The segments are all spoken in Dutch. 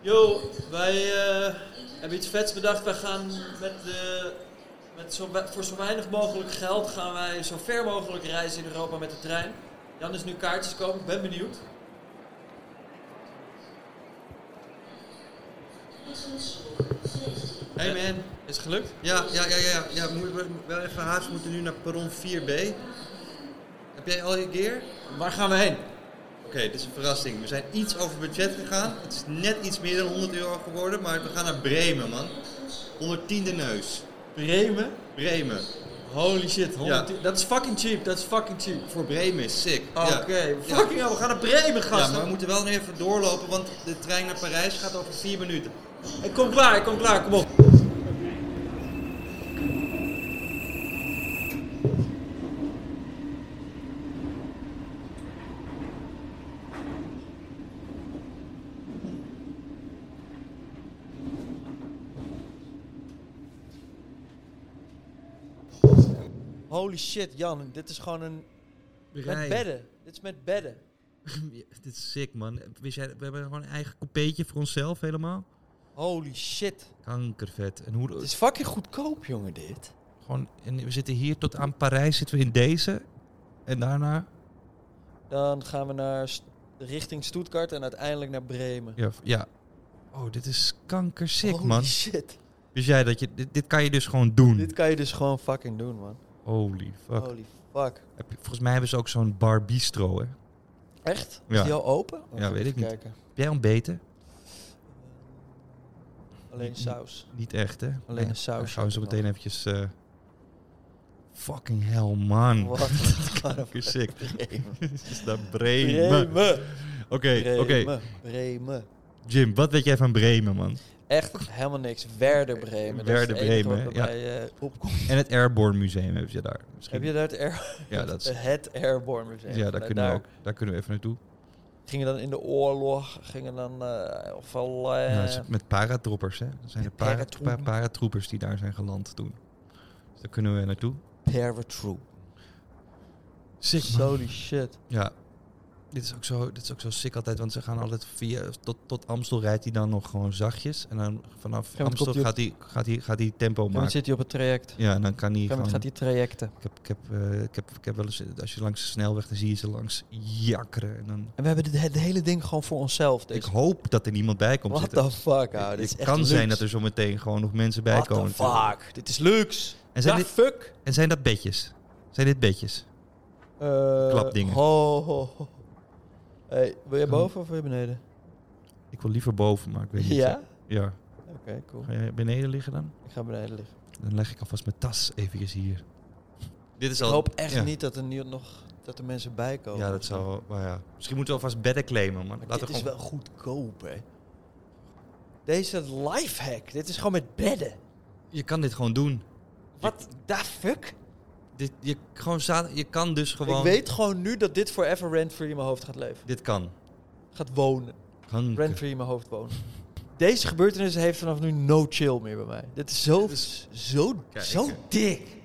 Yo, wij eh, hebben iets vets bedacht. Wij gaan met de, met zo, we- voor zo weinig mogelijk geld gaan wij zo ver mogelijk reizen in Europa met de trein. Jan is nu kaartjes komen, ik ben benieuwd. Hey man, is het gelukt? Ja, ja, ja, ja. ja moet, wel even haast, we moeten nu naar perron 4B. Heb jij al je gear? Waar gaan we heen? Oké, dit is een verrassing. We zijn iets over budget gegaan. Het is net iets meer dan 100 euro geworden, maar we gaan naar Bremen, man. 110e neus. Bremen? Bremen. Holy shit, 100 Ja. dat is fucking cheap, dat is fucking cheap. Voor Bremen is sick. Oké, Ja. Ja. fucking hell, we gaan naar Bremen Ja, gasten. maar we moeten wel nu even doorlopen, want de trein naar Parijs gaat over 4 minuten. Ik kom klaar, ik kom klaar, kom op. Holy shit, Jan, dit is gewoon een. Met bedden. Dit is met bedden. dit is sick, man. Wist jij, we hebben gewoon een eigen coupeetje voor onszelf helemaal. Holy shit. Kankervet. En hoe, Het is fucking goedkoop, jongen, dit. Gewoon, en we zitten hier tot aan Parijs, zitten we in deze. En daarna, Dan gaan we naar St- richting Stuttgart en uiteindelijk naar Bremen. ja. v- ja. Oh, dit is kankersick, Holy man. shit. Dus jij, dat je, dit, dit kan je dus gewoon doen. Dit Oh. kan je dus gewoon fucking doen, man. Holy fuck. Holy fuck. Heb je- volgens mij hebben ze ook zo'n bar bistro, hè. Heb Echt? Is Ja. die al open? Oh, Ja, even weet ik niet. kijken. jij ontbeten? Alleen saus. Niet echt, hè? Alleen een sausje Dan gaan we zo heb ik meteen eventjes... eh, fucking hell, man. Wat? Kankersick. Bremen. Dit is naar Bremen. Oké, Bremen. oké. Bremen. Bremen. Jim, wat weet jij van Bremen, man? Echt helemaal niks. Werder Bremen. Eh, Werder Bremen, Ja. ja. eh, opkomt. En het Airborne Museum hebben ze daar. Misschien. Heb je daar het, Air- Ja, dat is het Airborne Museum? Ja, daar Nou, kunnen, we ook, daar kunnen we even naartoe. Gingen dan in de oorlog, gingen dan... eh of al, eh, Nou, dat is met paratroopers, hè? Dat zijn de para- paratroepen. pa- paratroopers die daar zijn geland toen. Dus daar kunnen we naartoe. Paratroop. Sick, man. Holy shit. Ja. Dit is, ook zo, dit is ook zo sick altijd, want ze gaan altijd via... Tot, tot Amstel rijdt hij dan nog gewoon zachtjes. En dan vanaf Ja, want Amstel komt hij gaat hij, gaat, hij, gaat hij tempo Dan maken. zit hij op het traject. Op een Ja, en dan kan hij gegeven moment gewoon... gaat hij trajecten. Ik, heb, ik, heb, eh, ik, heb, ik heb wel eens... Als je langs de snelweg, dan zie je ze langs jakkeren. En dan, En we hebben dit, het hele ding gewoon voor onszelf. ik Deze. hoop dat er niemand bij komt What zitten. the fuck, ouwe. Het Dit is echt kan zijn dat luxe. er zo meteen gewoon nog mensen bij What komen. the fuck. Dit is luxe. En zijn, Ja, dit, fuck. en zijn dat bedjes? Zijn dit bedjes? Eh, Klapdingen. Ho, ho, ho. Hey, wil jij Oh. boven of wil je beneden? Ik wil liever boven, maar ik weet niet. Ja? Ja. Oké, cool. Ga jij beneden liggen dan? Ik ga beneden liggen. Dan leg ik alvast mijn tas eventjes hier. Dit is Ik hoop echt ja. niet dat er nu nog dat er mensen bij komen. Ja, dat zou... Maar ja. Misschien moeten we alvast bedden claimen, man. Maar Laten dit we is gewoon... wel goedkoop, hè. Deze lifehack. Dit is gewoon met bedden. Je kan dit gewoon doen. Wat da fuck? Dit, je, gewoon za- je kan dus gewoon... Ik weet gewoon nu dat dit forever rent-free in mijn hoofd gaat leven. Dit kan. Gaat wonen. Kanker. Rent-free in mijn hoofd wonen. Deze gebeurtenis heeft vanaf nu no chill meer bij mij. Dit is zo, zo, dus- Kijk, zo eh. dik.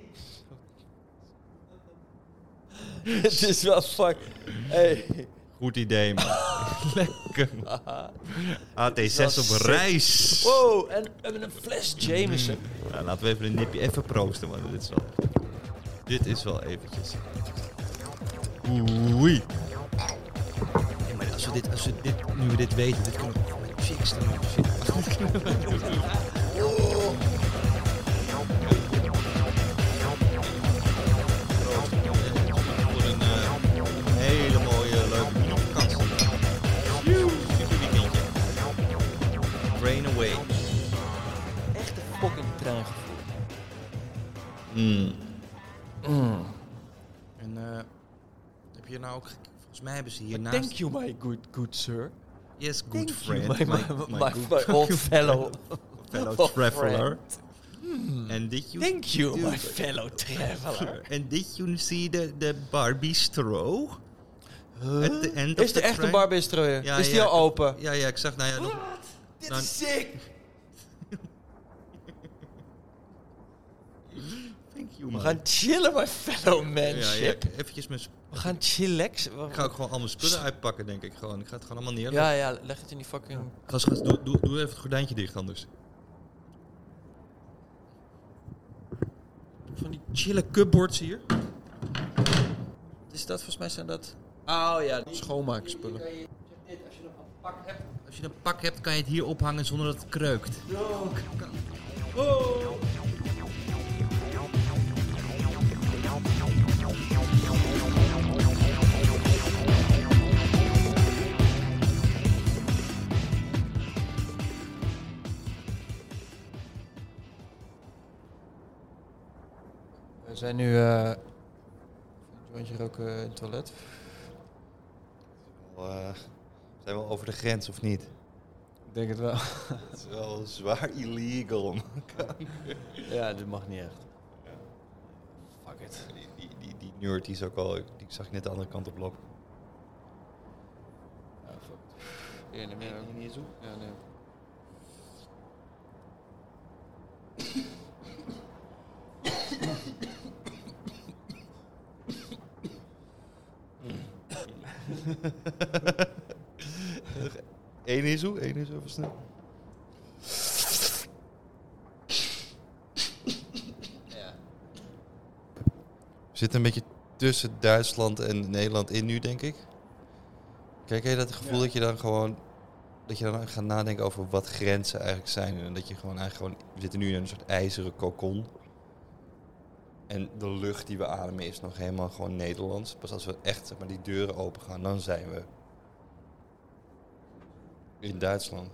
Het is wel fuck. Hey. Goed idee, man. Lekker, man. AT6 wel op sick. reis. Wow, en we hebben een fles Jameson. Nou, laten we even een nipje even proosten, man. Dit is wel, dit is wel eventjes. Oei. Ja, maar als we dit, als we dit, nu we dit weten, dit kunnen we met chicks doen. Shit. Voor een eh, hele mooie, leuke mini-vakantie. Super weekendje. Train away. Echt een fucking treingevoel. Mm. En eh, heb je nou ook... gek- Volgens mij hebben ze hiernaast... Thank you, my good, good sir. Yes, good Thank friend. you, my, my, my- my my- good my old fellow. fellow old Hmm. traveler. And did you... Thank you, do- my fellow traveler. And did you see the, the Barbie straw? At the end of Is the er echt een train? barbistro? Ja, is die ja, al ik- open? Ja, ja, ik zag... Nou ja, nog- Dit Nou, is sick! Thank joh, We man. gaan chillen, my fellow ja, manship. ja, eventjes mijn... sp- We gaan chillax. Ik ga ook gewoon al mijn spullen uitpakken, denk ik. Gewoon. Ik ga het gewoon allemaal neerleggen. Ja, ja, leg het in die fucking... Gast, gast, doe, doe, doe even het gordijntje dicht anders. Van die chille cupboards hier. Wat is dat? Volgens mij zijn dat... Oh ja, schoonmaakspullen. Als je een pak hebt, kan je het hier ophangen zonder dat het kreukt. We zijn nu... eh een jointje roken in het toilet. Eh, zijn we over de grens of niet? Ik denk het wel. Dat is wel zwaar illegal. man. ja, dit mag niet echt. Fuck it. Die, die, die, die nerd die is ook al. Die zag ik net de andere kant op lopen. Ja, fuck it. Ja, neem jij ook niet eens op? Ja, nee. Eén is hoe? Eén is even snel. Ja. We zitten een beetje tussen Duitsland en Nederland in nu, denk ik. Kijk, heb je dat gevoel dat je dan gewoon... Dat je dan gaat nadenken over wat grenzen eigenlijk zijn. En dat je gewoon eigenlijk gewoon... We zitten nu in een soort ijzeren kokon. En de lucht die we ademen is nog helemaal gewoon Nederlands. Pas als we echt zeg maar, die deuren open gaan, dan zijn we... In Duitsland.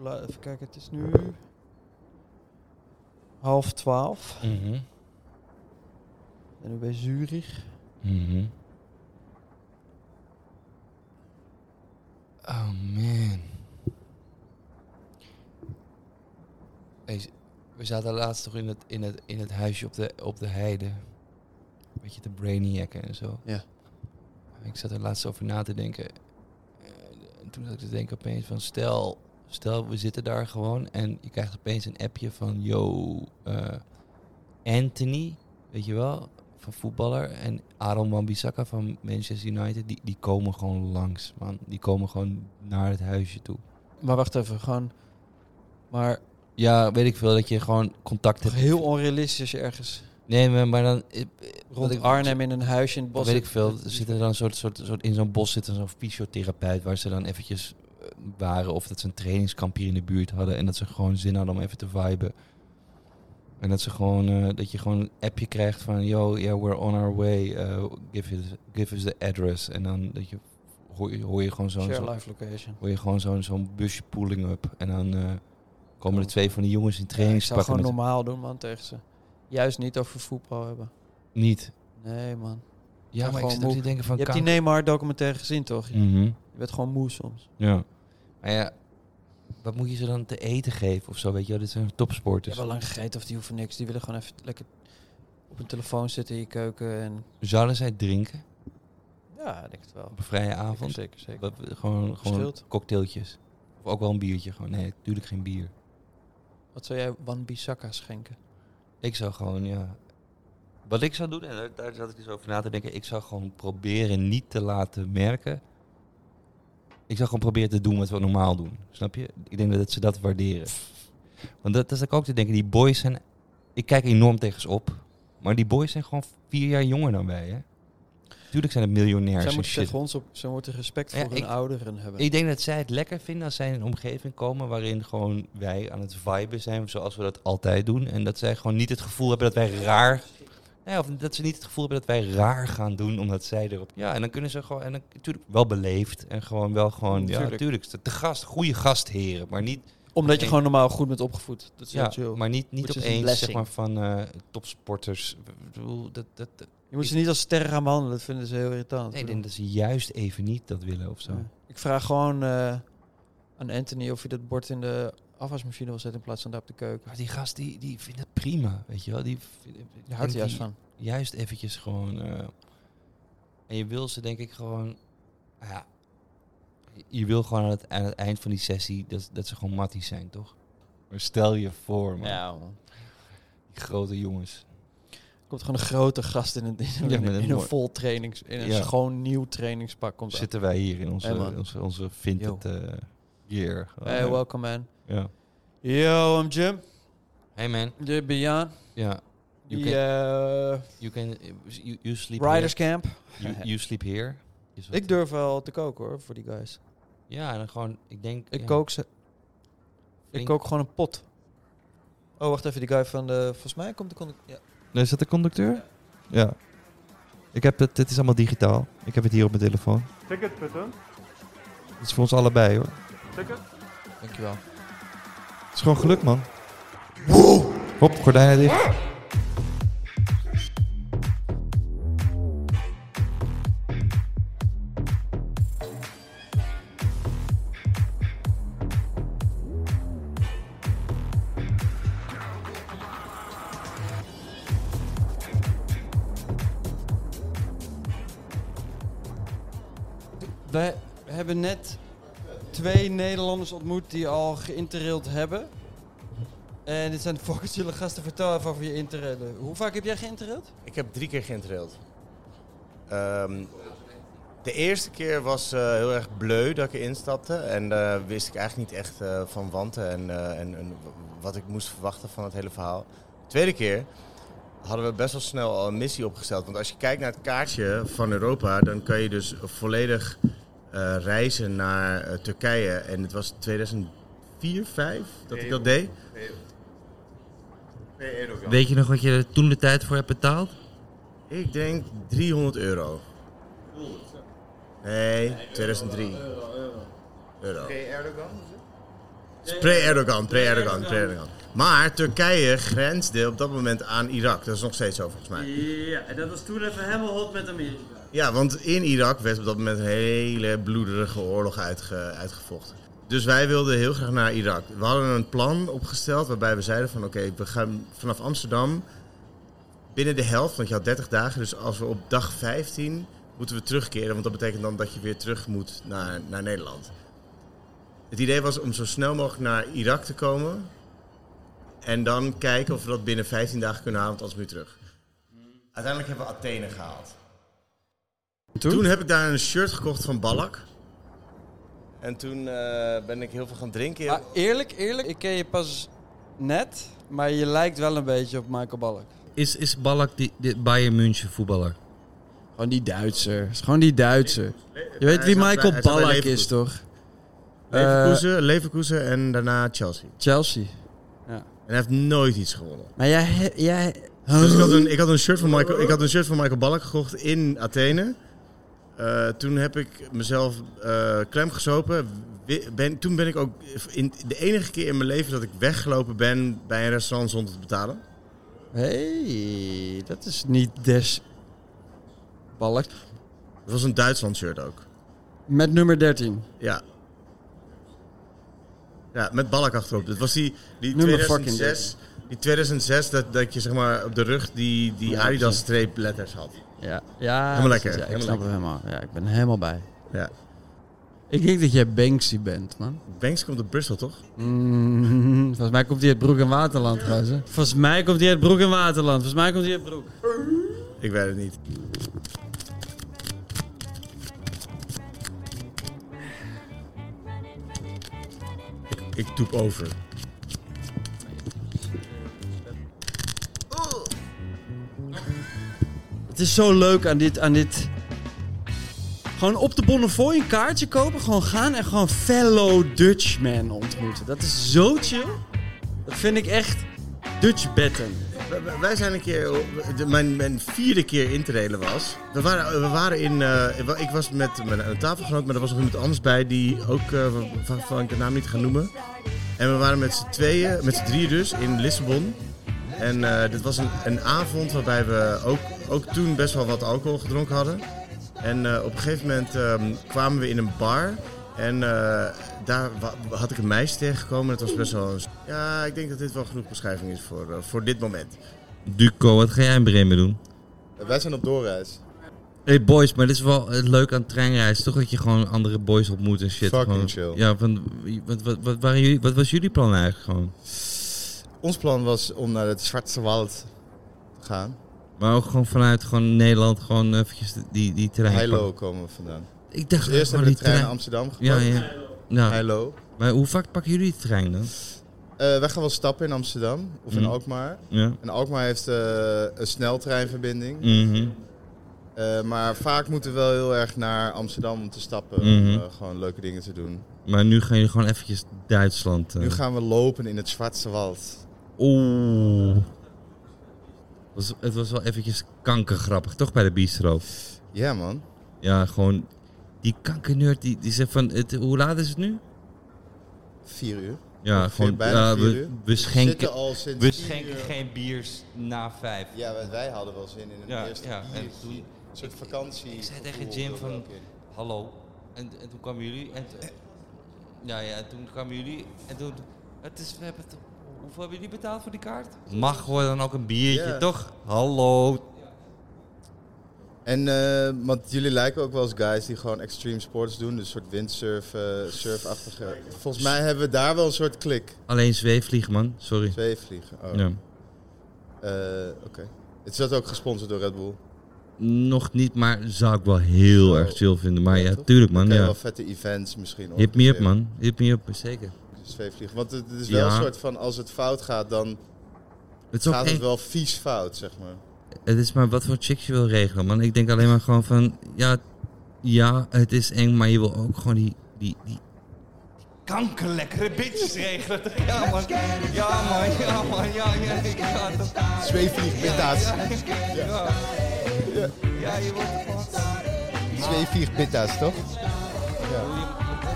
La- even kijken, het is nu half twaalf. Mhm. We zijn nu bij Zurich. Oh man. Hey, z- we zaten laatst toch in het, in het, in het huisje op de, op de heide. Een beetje te brainiacken en zo. Ja. Ik zat er laatst over na te denken. Eh, En toen zat ik te denken opeens van stel, stel we zitten daar gewoon en je krijgt opeens een appje van yo eh, Anthony, weet je wel, van voetballer en Aaron Wan-Bissaka van Manchester United, die, die komen gewoon langs man. Die komen gewoon naar het huisje toe. Maar wacht even, gewoon... Maar Ja, weet ik veel dat je gewoon contact toch hebt. heel onrealistisch als je ergens Nee, maar, maar dan eh, eh, wat rond ik- Arnhem in een huisje in het Dat bos weet ik veel. Er zitten dan een soort, soort, soort, in zo'n bos zit er zo'n fysiotherapeut waar ze dan eventjes eh, waren of dat ze een trainingskamp hier in de buurt hadden en dat ze gewoon zin hadden om even te viben. En dat ze gewoon eh, dat je gewoon een appje krijgt van yo, yeah, we're on our way. eh, give, us, give us the address. En dan dat je hoor je, hoor je gewoon zo'n Share zo, life location. hoor je gewoon zo'n zo'n busje pulling up. En dan eh, komen er twee van die jongens in ik zou trainingspakken. gewoon met- normaal doen, man, tegen ze. Juist niet over voetbal hebben. niet. Nee, man. Ja, maar ik gewoon zit ook moe. te denken van Je hebt die Neymar documentaire gezien, toch? kan- Mhm. Je bent gewoon moe soms. Ja. Maar ja, wat moet je ze dan te eten geven of zo? Weet je wel, dit zijn Je topsporters. hebt al lang gegeten of die hoeven niks. Die willen gewoon even lekker op hun telefoon zitten in je keuken. En... Zouden zij drinken Ja, ik denk het wel. op een vrije avond? Zeker, zeker. Wat- gewoon gewoon Verschilt. cocktailtjes. Of ook wel een biertje gewoon. Nee, natuurlijk geen bier. Wat zou jij Wan Bissaka schenken? Ik zou gewoon, ja... Wat ik zou doen, en daar, daar zat ik dus over na te denken... Ik zou gewoon proberen niet te laten merken... Ik zou gewoon proberen te doen wat we normaal doen. Snap je? Ik denk dat ze dat waarderen. Want dat, dat is ook te denken. Die boys zijn... Ik kijk enorm tegen ze op. Maar die boys zijn gewoon vier jaar jonger dan wij, hè? Tuurlijk zijn het miljonairs Zij en moeten shit. tegen ons op, ze moeten respect Ja, voor hun ik- ouderen hebben. Ik denk dat zij het lekker vinden als zij in een omgeving komen... waarin gewoon wij aan het viben zijn zoals we dat altijd doen. En dat zij gewoon niet het gevoel hebben dat wij raar Nee, of dat ze niet het gevoel hebben dat wij raar gaan doen omdat zij erop. Ja, en dan kunnen ze gewoon. En dan, natuurlijk wel beleefd en gewoon wel gewoon. Ja, Tuurlijk. natuurlijk. Te te gast, goede gastheren, maar niet. Omdat je Oké. gewoon normaal goed bent opgevoed. Dat is heel Ja, chill. maar niet, niet Which is a opeens blessing. zeg maar van eh, topsporters. Ik bedoel, dat, dat, dat- je moet ze niet als sterren gaan behandelen. Dat vinden ze heel irritant. nee, ik denk dat ze juist even niet dat willen of zo. Ja. Ik vraag gewoon eh, aan Anthony of hij dat bord in de afwasmachine wil zetten in plaats van daar op de keuken. Maar die gast die, die vindt het prima, weet je wel. Die, vindt- Daar houdt en hij juist die- van. juist eventjes gewoon. eh, en nou je wil ze denk ik gewoon. ah ja, je wil gewoon aan het, aan het eind van die sessie dat, dat ze gewoon matties zijn, toch? Maar stel je voor, man. Ja, man. Die grote jongens. Er komt gewoon een grote gast in een, in een, Ja, met een in een mooi- vol trainings... In een Ja. schoon nieuw trainingspak komt Zitten wij hier in onze, Hey, man. onze, onze vintage eh, year. aan. Hey, welcome man. ja. Yo, I'm Jim. Hey man. De Bian. Ja. You Die eh, You can you, you sleep Riders Camp. here. You, you sleep here. Is wat- Ik durf wel te koken hoor, voor die guys. Ja, en dan gewoon ik denk Ik ja, kook ze. Ik flink- kook gewoon een pot. Oh, wacht even, die guy van de... Volgens mij komt de... Kon ja. Nee, is dat de conducteur? Ja. Ik heb het, dit is allemaal digitaal. Ik heb het hier op mijn telefoon. Ticket bitte. Het is voor ons allebei hoor. Ticket. Dankjewel. Het is gewoon geluk man. Hop, gordijnen dicht. Wij hebben net twee Nederlanders ontmoet die al geïnterraild hebben. En dit zijn fucking zielige gasten. Vertel even over je interrailen. Hoe vaak heb jij geïnterraild? Ik heb drie keer geïnterraild. Ehm, de eerste keer was eh, heel erg bleu dat ik erin stapte. En eh, wist ik eigenlijk niet echt eh, van wanten en, eh, en, en w- wat ik moest verwachten van het hele verhaal. De tweede keer hadden we best wel snel al een missie opgesteld. Want als je kijkt naar het kaartje van Europa, dan kan je dus volledig eh, reizen naar eh, Turkije. En het was 2004, 2005 dat ik dat deed. Weet je nog wat je er toen de tijd voor hebt betaald? Ik denk 300 euro. Nee, 2003. Euro. Pre-Erdogan? Pre-Erdogan, pre-Erdogan, pre-Erdogan. Maar Turkije grensde op dat moment aan Irak. Dat is nog steeds zo volgens mij. Ja, en dat was toen even helemaal hot met Amerika. Ja, want in Irak werd op dat moment een hele bloederige oorlog uitge- uitgevochten. Dus wij wilden heel graag naar Irak. We hadden een plan opgesteld waarbij we zeiden van oké, we gaan vanaf Amsterdam binnen de helft, want je had 30 dagen. Dus als we op dag 15 moeten we terugkeren, want dat betekent dan dat je weer terug moet naar, naar Nederland. Het idee was om zo snel mogelijk naar Irak te komen en dan kijken of we dat binnen 15 dagen kunnen halen, want anders moet je terug. Uiteindelijk hebben we Athene gehaald. Toen? heb ik daar een shirt gekocht van Ballack. En toen eh, ben ik heel veel gaan drinken. Ah, eerlijk, eerlijk. Ik ken je pas net, maar je lijkt wel een beetje op Michael Balk. Is, is Ballack die, die Bayern München voetballer? Gewoon die Duitser. Is gewoon die Duitser. Je weet wie Hij zat bij- Michael hij zat bij Ballack Leverkusen. is, toch? Leverkusen, Leverkusen en daarna Chelsea. Eh, Chelsea. En hij heeft nooit iets gewonnen. Maar jij... he- jij Dus ik had, een, ik, had een shirt van Michael, ik had een shirt van Michael Ballack gekocht in Athene. Eh, toen heb ik mezelf eh klem gesopen. Wi- Ben, toen ben ik ook in, de enige keer in mijn leven dat ik weggelopen ben bij een restaurant zonder te betalen. hey, dat is niet des... Balk. Dat was een Duitsland shirt ook. Met nummer 13. Ja. Ja, met balk achterop. Dat was die, die Nummer 2006, die 2006 dat, dat je zeg maar op de rug die, die Ja, Adidas streep letters had. Ja, ja Helemaal lekker, precies, Ja, ik helemaal snap hem helemaal. Ja, ik ben er helemaal bij. Ja. Ik denk dat jij Banksy bent, man. Banks komt uit Brussel, toch? Mm, volgens mij komt hij uit Broek en Waterland, gozer. Volgens mij komt hij uit Broek en Waterland. Volgens mij komt hij uit Broek. Ik weet het niet. Ik, ik toep over. Het is zo leuk aan dit, aan dit... Gewoon op de Bonnefoy een kaartje kopen, gewoon gaan en gewoon fellow Dutchmen ontmoeten. Dat is zo chill. Dat vind ik echt Dutch betten. Wij- wij- Wij zijn een keer, de- mijn, mijn vierde keer interrailen was. We waren, we waren in, eh, wa- ik was met mijn een tafelgenoot, maar er was nog iemand anders bij die ook, eh, waarvan waarvan ik de naam niet ga noemen. En we waren met z'n tweeën, met z'n drieën dus, in Lissabon. En eh, dit was een, een avond waarbij we ook, ook toen best wel wat alcohol gedronken hadden. En eh, op een gegeven moment ehm, kwamen we in een bar. En eh, daar wa- had ik een meisje tegengekomen. Het was best wel een... Ja, ik denk dat dit wel genoeg beschrijving is voor, eh, voor dit moment. Duco, wat ga jij in Bremen doen? Wij zijn op doorreis. Hey boys, maar dit is wel eh, leuk aan treinreis. Toch dat je gewoon andere boys ontmoet en shit. Fucking gewoon, chill. Ja, van, wat, wat, wat, waren jullie, wat was jullie plan eigenlijk gewoon? Ons plan was om naar het Zwarte Wald te gaan. Maar ook gewoon vanuit gewoon Nederland gewoon eventjes die, die trein. Heilo komen we vandaan. Ik dacht Dus eerst gewoon hebben we die de trein trein. naar Amsterdam gepakt. ja, ja. Nou, Heilo. maar hoe vaak pakken jullie de trein dan? Eh, wij gaan wel stappen in Amsterdam of in Mhm. Alkmaar. Ja. En Alkmaar heeft eh, een sneltreinverbinding. Mhm. Eh, maar vaak moeten we wel heel erg naar Amsterdam om te stappen. Mhm. Om eh, gewoon leuke dingen te doen. Maar nu gaan jullie gewoon eventjes Duitsland. eh. Nu gaan we lopen in het Zwarte Wald. Oeh. Was, het was wel eventjes kankergrappig, toch bij de bistro? Ja man. Ja, gewoon die kankerneurt die, die zegt van, het, hoe laat is het nu? Vier uur. Ja, Ongeveer gewoon, bijna ja, vier we, uur. we We schenken, zitten al sinds We tien schenken uur. geen biers na vijf. Ja, wij- wij hadden wel zin in een Ja, eerste ja, bier. en toen- Een soort vakantie. Ik zei tegen Jim van- Hallo. En, en toen kwamen jullie. En, Eh. t- ja, ja, en toen kwamen jullie. En toen. Het is, we hebben het, hoeveel hebben jullie betaald voor die kaart? mag gewoon dan ook een biertje, Ja. toch? Hallo. En, eh, want jullie lijken ook wel eens guys die gewoon extreme sports doen. Dus een soort windsurfen, surfachtige. Volgens mij hebben we daar wel een soort klik. Alleen zweefvliegen, man. Sorry. Twee vliegen. Oh. Ja. Eh, Oké. Is dat ook gesponsord door Red Bull? Nog niet, maar zou ik wel heel Oh. erg chill vinden. Maar Ja, ja, toch? tuurlijk, man. Oké, Ja. wel vette events misschien. Hit me up, organiseren. man. Hit me up, zeker. Dus twee vliegen. Want het het is wel Ja. een soort van, als het fout gaat, dan Het is, ook gaat eng. het wel vies fout, zeg maar. het is maar wat voor chicks je wil regelen, man. Ik denk alleen maar gewoon van, ja, ja het is eng, maar je wil ook gewoon die... die, die Kankerlekkere bitches regelen. toch? Ja, man. Ja, man. Ja, man. Ja, ja. Ik ga toch. Twee vliegen pita's. Ja. Ja, je wordt gewoon. Twee vier pita's, toch? Ja.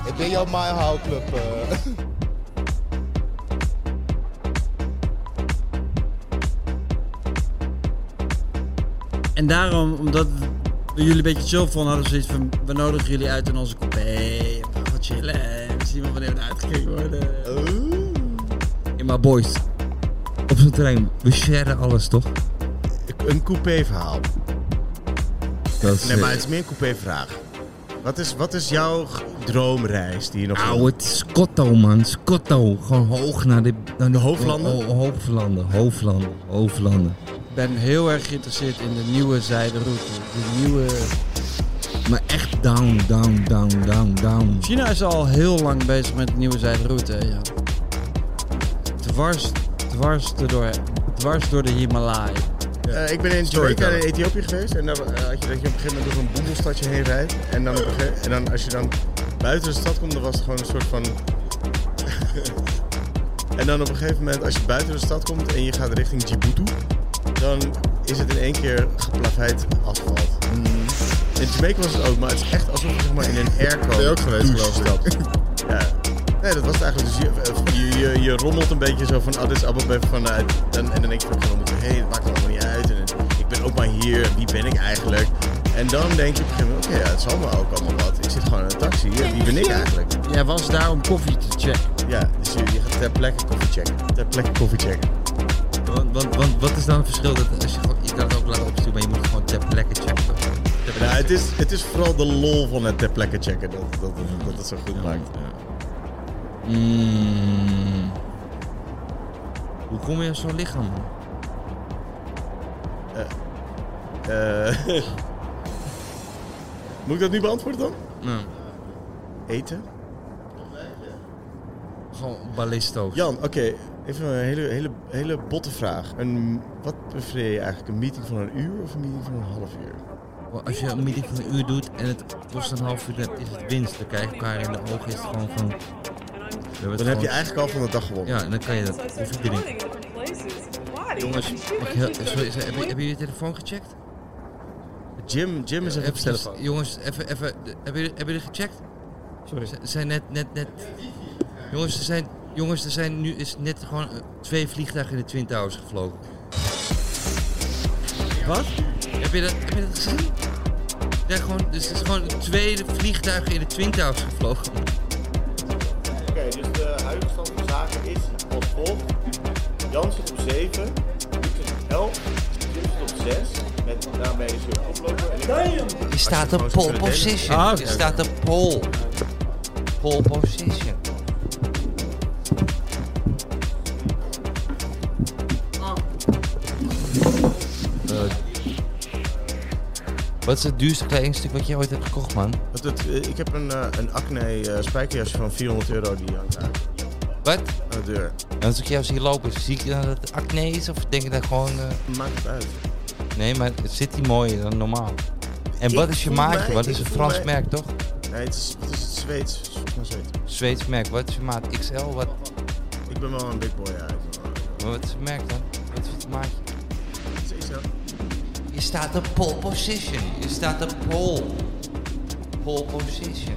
Ik ben jouw My How Club. eh. En daarom, omdat we jullie een beetje chill vonden, hadden we zoiets van... We nodigen jullie uit in onze coupé. We gaan chillen. We zien wel wanneer we uitgekeken worden. Ja, maar boys. op zo'n trein, we sharen alles, toch? Een coupé-verhaal. Dat is, Nee, maar het is meer een coupé-vraag. Wat is, wat is jouw g- droomreis die je nog... Auw, het is Scotto, man. Scotto. Gewoon hoog naar de... Naar de Hoofdlanden? Ho- ho- hoofdlanden, hoofdlanden, hoofdlanden. Ik ben heel erg geïnteresseerd in de nieuwe zijderoute. De nieuwe... Maar echt down, down, down, down, down. China is al heel lang bezig met de nieuwe zijderoute, hè, Jan. Dwars, dwars, door, dwars door de Himalaya. Eh, ik ben in Jamaica en in Ethiopië geweest. En dan eh, had je dat je op een gegeven moment door een boemelstadje heen rijdt. En, dan op een gegeven- en dan, als je dan buiten de stad komt, dan was het gewoon een soort van... en dan op een gegeven moment, als je buiten de stad komt en je gaat richting Djibouti... dan is het in één keer geplaveid asfalt. In Jamaica was het ook, maar het is echt alsof je zeg maar, in een airco ben je ook geweest, geloof ik. ja. Nee, dat was het eigenlijk. Dus je, je, je, je rommelt een beetje zo van, ah, dit is Abba vanuit. En, en dan denk je van, hé, hey, het maakt allemaal niet uit. En het- ik ben ook maar hier, wie ben ik eigenlijk? En dan denk je op een gegeven moment, oké, ja, het zal me ook allemaal wat. Ik zit gewoon in een taxi, ja, wie ben ik eigenlijk? Jij was daar om koffie te checken. Ja, dus je, je gaat ter plekke koffie checken. Ter plekke koffie checken. Want, want, want wat is dan het verschil? Dat als je, gewoon- je kan het ook laten opzoeken, maar je moet het gewoon ter plekke checken. toch? Ter plekke Nou, het checken. is, het is vooral de lol van het ter plekke checken dat, dat, dat, dat het zo goed maakt. Mm. Hoe kom je aan zo'n lichaam? man? Eh, Moet ik dat nu beantwoorden dan? Nou, Eten? gewoon ballisto. Jan, oké. Even een hele, hele, hele botte vraag. Een, wat prefereer je eigenlijk? Een meeting van een uur of een meeting van een half uur? Als je een meeting van een uur doet en het kost een half uur, dan is het winst. Dan krijg je elkaar in de ogen. Is het gewoon van. we hebben het Dan heb je gewoon- eigenlijk al van de dag gewonnen. Oh Ja, en dan kan je dat koffie drinken. Jongens, mag ik heel, sorry, sorry, heb, je, heb je je telefoon gecheckt? Jim, Jim is even op Even- zijn telefoon. Jongens, even, even, de- hebben jullie, hebben jullie gecheckt? Sorry. Ze zijn net, net, net... Jongens, er zijn, jongens, er zijn nu is net gewoon eh, twee vliegtuigen in de Twin Towers gevlogen. Wat? Heb je dat, heb je dat gezien? Ja, gewoon, dus er is gewoon twee vliegtuigen in de Twin Towers gevlogen. Oké, dus de huidige stand van zaken is als volgt. Jan zit op 7, ik zit op 11, Jim zit op 6, En daarmee is je oplopen. En ik Je staat op gewoon zou pole kunnen delen. position. Ah, oké, Je oké. staat op pole. Pole position. Ah. Eh, Wat is het duurste kledingstuk wat je ooit hebt gekocht, man? Dat het, eh, ik heb een, eh, een acne eh, spijkerjasje van 400 euro die hangt uit Wat? aan de deur. En als ik jou zie lopen, zie ik dan dat het acne is? Of denk je dat gewoon... eh, Maakt het uit. Nee, maar het zit die mooier dan normaal. En Ik wat is je voel maatje? mij- Wat ik is een voel Frans mij- merk, toch? Nee, het is, het is het Zweeds. Het is volgens mij Zweeds. Zweeds merk. Wat is je maat? XL? Wat, Ik ben wel een big boy uit. wat is het merk dan? Wat is het maatje? Het is XL. Je staat op pole position. Je staat op pole. Pole position.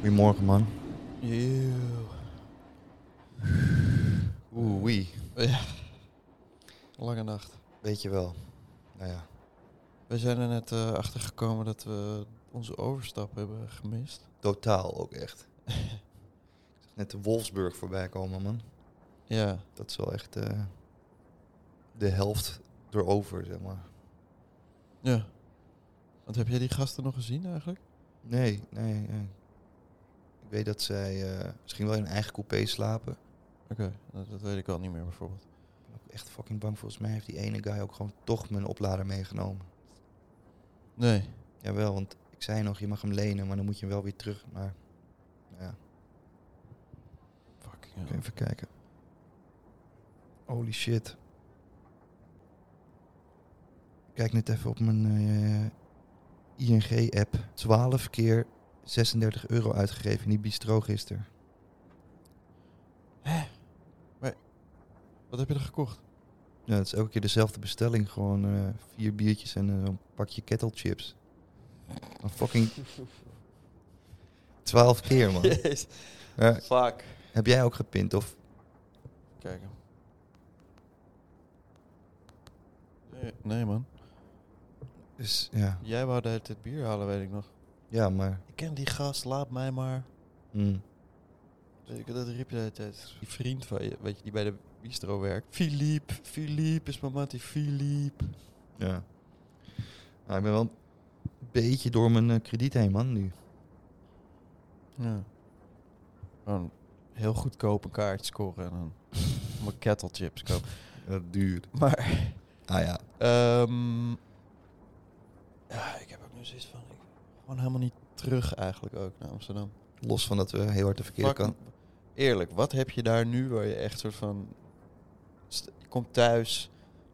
Goedemorgen, man. Oeh, wee. Lange nacht. Weet je wel. Nou ja. We zijn er net eh, achter gekomen dat we onze overstap hebben gemist. Totaal ook echt. Ik zag Net de Wolfsburg voorbij komen, man. Ja, Dat is wel echt eh, de helft erover, zeg maar. ja. Want heb jij die gasten nog gezien eigenlijk? Nee, nee, nee. Ik weet dat zij eh, misschien wel in hun eigen coupé slapen. Oké, dat, dat weet ik al niet meer bijvoorbeeld. Ik ben ook echt fucking bang. Volgens mij heeft die ene guy ook gewoon toch mijn oplader meegenomen. Nee. Jawel, want ik zei nog, je mag hem lenen, maar dan moet je hem wel weer terug. Maar nou ja, Fucking hell. even kijken. Holy shit. Ik kijk net even op mijn eh, ING-app. 12 keer 36 euro uitgegeven in die bistro gisteren. Wat heb je er gekocht? Ja, dat is elke keer dezelfde bestelling. Gewoon eh, vier biertjes en eh, een pakje kettlechips. Een fucking... 12 keer, man. Jezus. Ja, Fuck. heb jij ook gepint of... Kijken. Nee, nee man. Dus, ja. Jij wou de hele tijd bier halen, weet ik nog. ja, maar... Ik ken die gast, laat mij maar. hm. Weet ik, dat riep je de hele tijd. Die vriend van je, weet je, die bij de bistro werkt. Philippe, Philippe is mijn mattie, Philippe. Ja. Nou, ik ben wel een beetje door mijn eh, krediet heen, man, nu. Ja. Gewoon heel goedkoop een kaart scoren en dan mijn kettlechips kopen. Dat duurt. Maar, Ah ja. ehm ja, ik heb ook nu zoiets van, ik, gewoon helemaal niet terug eigenlijk ook naar Amsterdam. Los van dat we heel hard de verkeerde Fuck, kant... Eerlijk, wat heb je daar nu waar je echt soort van, st- je komt thuis,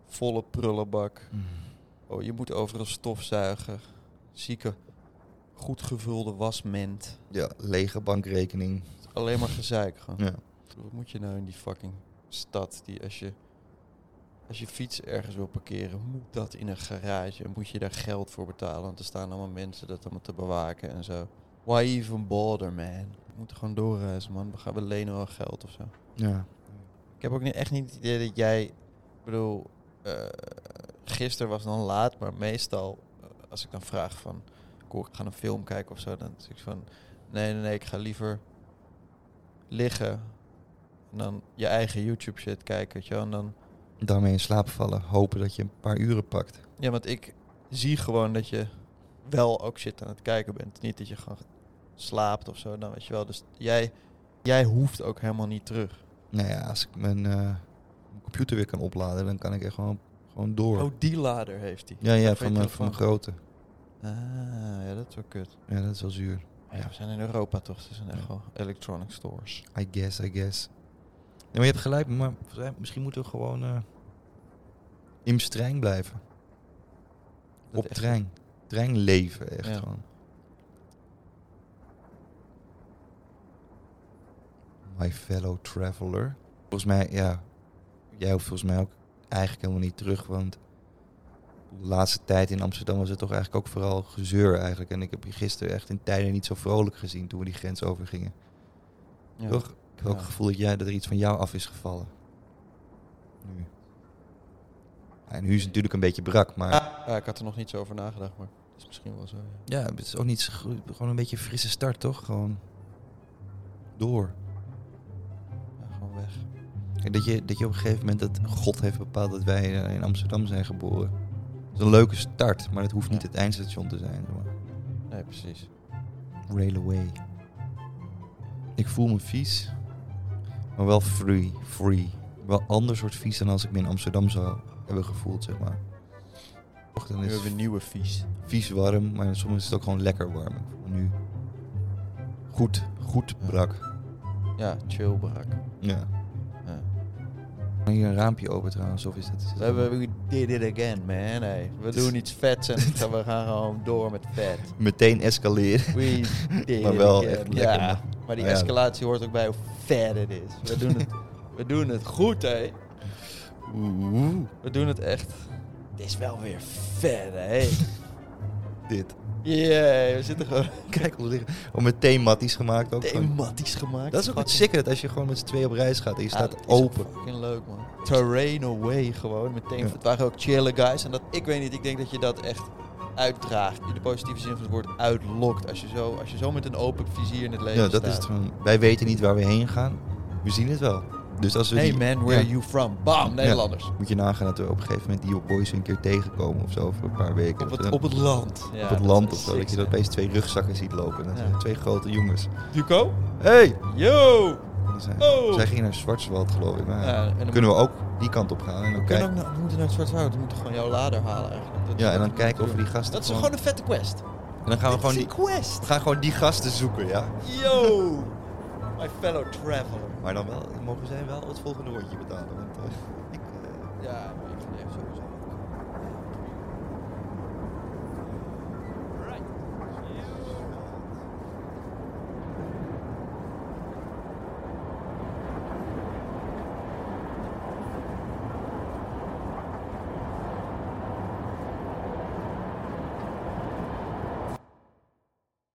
volle prullenbak, Mm. oh, je moet overal stofzuigen, zieke, goed gevulde wasment. Ja, lege bankrekening. Alleen maar gezeik gewoon. Ja. Wat moet je nou in die fucking stad die als je als je fiets ergens wil parkeren, moet dat in een garage en moet je daar geld voor betalen. Want er staan allemaal mensen dat allemaal te bewaken en zo. Why even bother, man? We moeten gewoon doorreizen, man. We, gaan, we lenen wel geld of zo. Ja. Ik heb ook niet, echt niet het idee dat jij... Ik bedoel, eh gisteren was dan laat, maar meestal eh, als ik dan vraag van... Kom, ik ga een film kijken of zo, dan zeg ik van... Nee, nee, nee, ik ga liever liggen en dan je eigen YouTube shit kijken, weet je wel. En dan, Daarmee in slaap vallen. Hopen dat je een paar uren pakt. ja, want ik zie gewoon dat je wel ook shit aan het kijken bent. Niet dat je gewoon slaapt of zo, dan weet je wel. Dus jij, jij hoeft ook helemaal niet terug. Nou ja, als ik mijn eh, computer weer kan opladen, dan kan ik echt gewoon, gewoon door. Oh, die lader heeft hij. ja, ja, je van mijn, van telefoon. mijn grote. Ah, ja, dat is wel kut. Ja, dat is wel zuur. Oh Ja, we zijn in Europa toch, dus er zijn echt wel electronic stores. I guess, I guess. Ja, maar je hebt gelijk, maar volgens mij- misschien moeten we gewoon eh in streng blijven. Dat Op echt- trein. Trein leven, echt Ja. gewoon. My fellow traveler. Volgens mij, ja. Jij hoeft volgens mij ook eigenlijk helemaal niet terug, want de laatste tijd in Amsterdam was het toch eigenlijk ook vooral gezeur eigenlijk. En ik heb je gisteren echt in tijden niet zo vrolijk gezien toen we die grens overgingen. Ja. Toch? Ik heb ook Ja. het gevoel dat, jij, dat er iets van jou af is gevallen. Nu. Ja, en nu is het natuurlijk een beetje brak, maar... Ja, ik had er nog niet zo over nagedacht, maar dat is misschien wel zo. ja. Ja, het is ook niet zo goed. Gewoon een beetje een frisse start, toch? Gewoon door. Ja, gewoon weg. Kijk, dat, je, dat je op een gegeven moment dat God heeft bepaald dat wij eh, in Amsterdam zijn geboren. Dat is een leuke start, maar het hoeft niet Ja. het eindstation te zijn. zeg maar. Nee, precies. Railway. Ik voel me vies, maar wel free. free. Wel een ander soort vies dan als ik me in Amsterdam zou hebben gevoeld, zeg maar. Och, Dan Nu hebben is we het een nieuwe vies. vies warm, maar soms is het ook gewoon lekker warm. Ik voel me nu goed, goed brak. Ja, chill brak. Ja. Ja. Kan Hier een raampje open trouwens, of is dat... is dat- We, hebben, we did it again, man. Hey, we doen iets vets en we gaan gewoon door met vet. Meteen escaleren. We did Maar wel it again. echt lekker, Ja, man. maar die Ja. escalatie hoort ook bij hoe vet het is. We doen het, we doen het goed, hé. Oeh, We doen het echt. Het is wel weer vet, hé. dit. Yeah, we zitten gewoon Kijk hoe liggen. Oh, meteen matties gemaakt ook. gewoon. thematisch gemaakt. Dat is ook Fucking- het sicker, dat als je gewoon met z'n tweeën op reis gaat en je Ja, staat dat is open. Fucking leuk, man. Terrain away gewoon. Meteen. Ja. Het waren ook chille guys. En dat, ik weet niet, ik denk dat je dat echt uitdraagt. In de positieve zin van het woord uitlokt. Als je zo, als je zo met een open vizier in het leven Ja, dat is staat. het gewoon. Wij weten niet waar we heen gaan. We zien het wel. Dus als we Hey die- man, where Ja. you from? Bam, Nederlanders. Moet je nagaan dat we op een gegeven moment die boys een keer tegenkomen of zo over een paar weken. Op, Dat het, we op dan het land. Ja, op het dat land is of zo. sick, Dat je dat man. opeens twee rugzakken ziet lopen. Dat Ja. zijn twee grote jongens. Duco? Hey! Yo! Dat zijn- Oh. Zij gingen naar Zwartswald geloof ik. Maar Ja, en dan kunnen we ook die kant op gaan en dan We, kijken. kunnen ook naar- we moeten naar het Zwarte Woud. We moeten gewoon jouw lader halen eigenlijk. Dat- Ja, en dan dat- kijken of we die gasten. Dat is gewoon een vette quest. En dan gaan we Dit gewoon is die, een quest. we gaan gewoon die gasten zoeken, ja. Yo! My fellow traveler. Maar dan wel, mogen zij wel het volgende rondje betalen. Want eh, ik. eh, Ja, maar ik vind echt sowieso.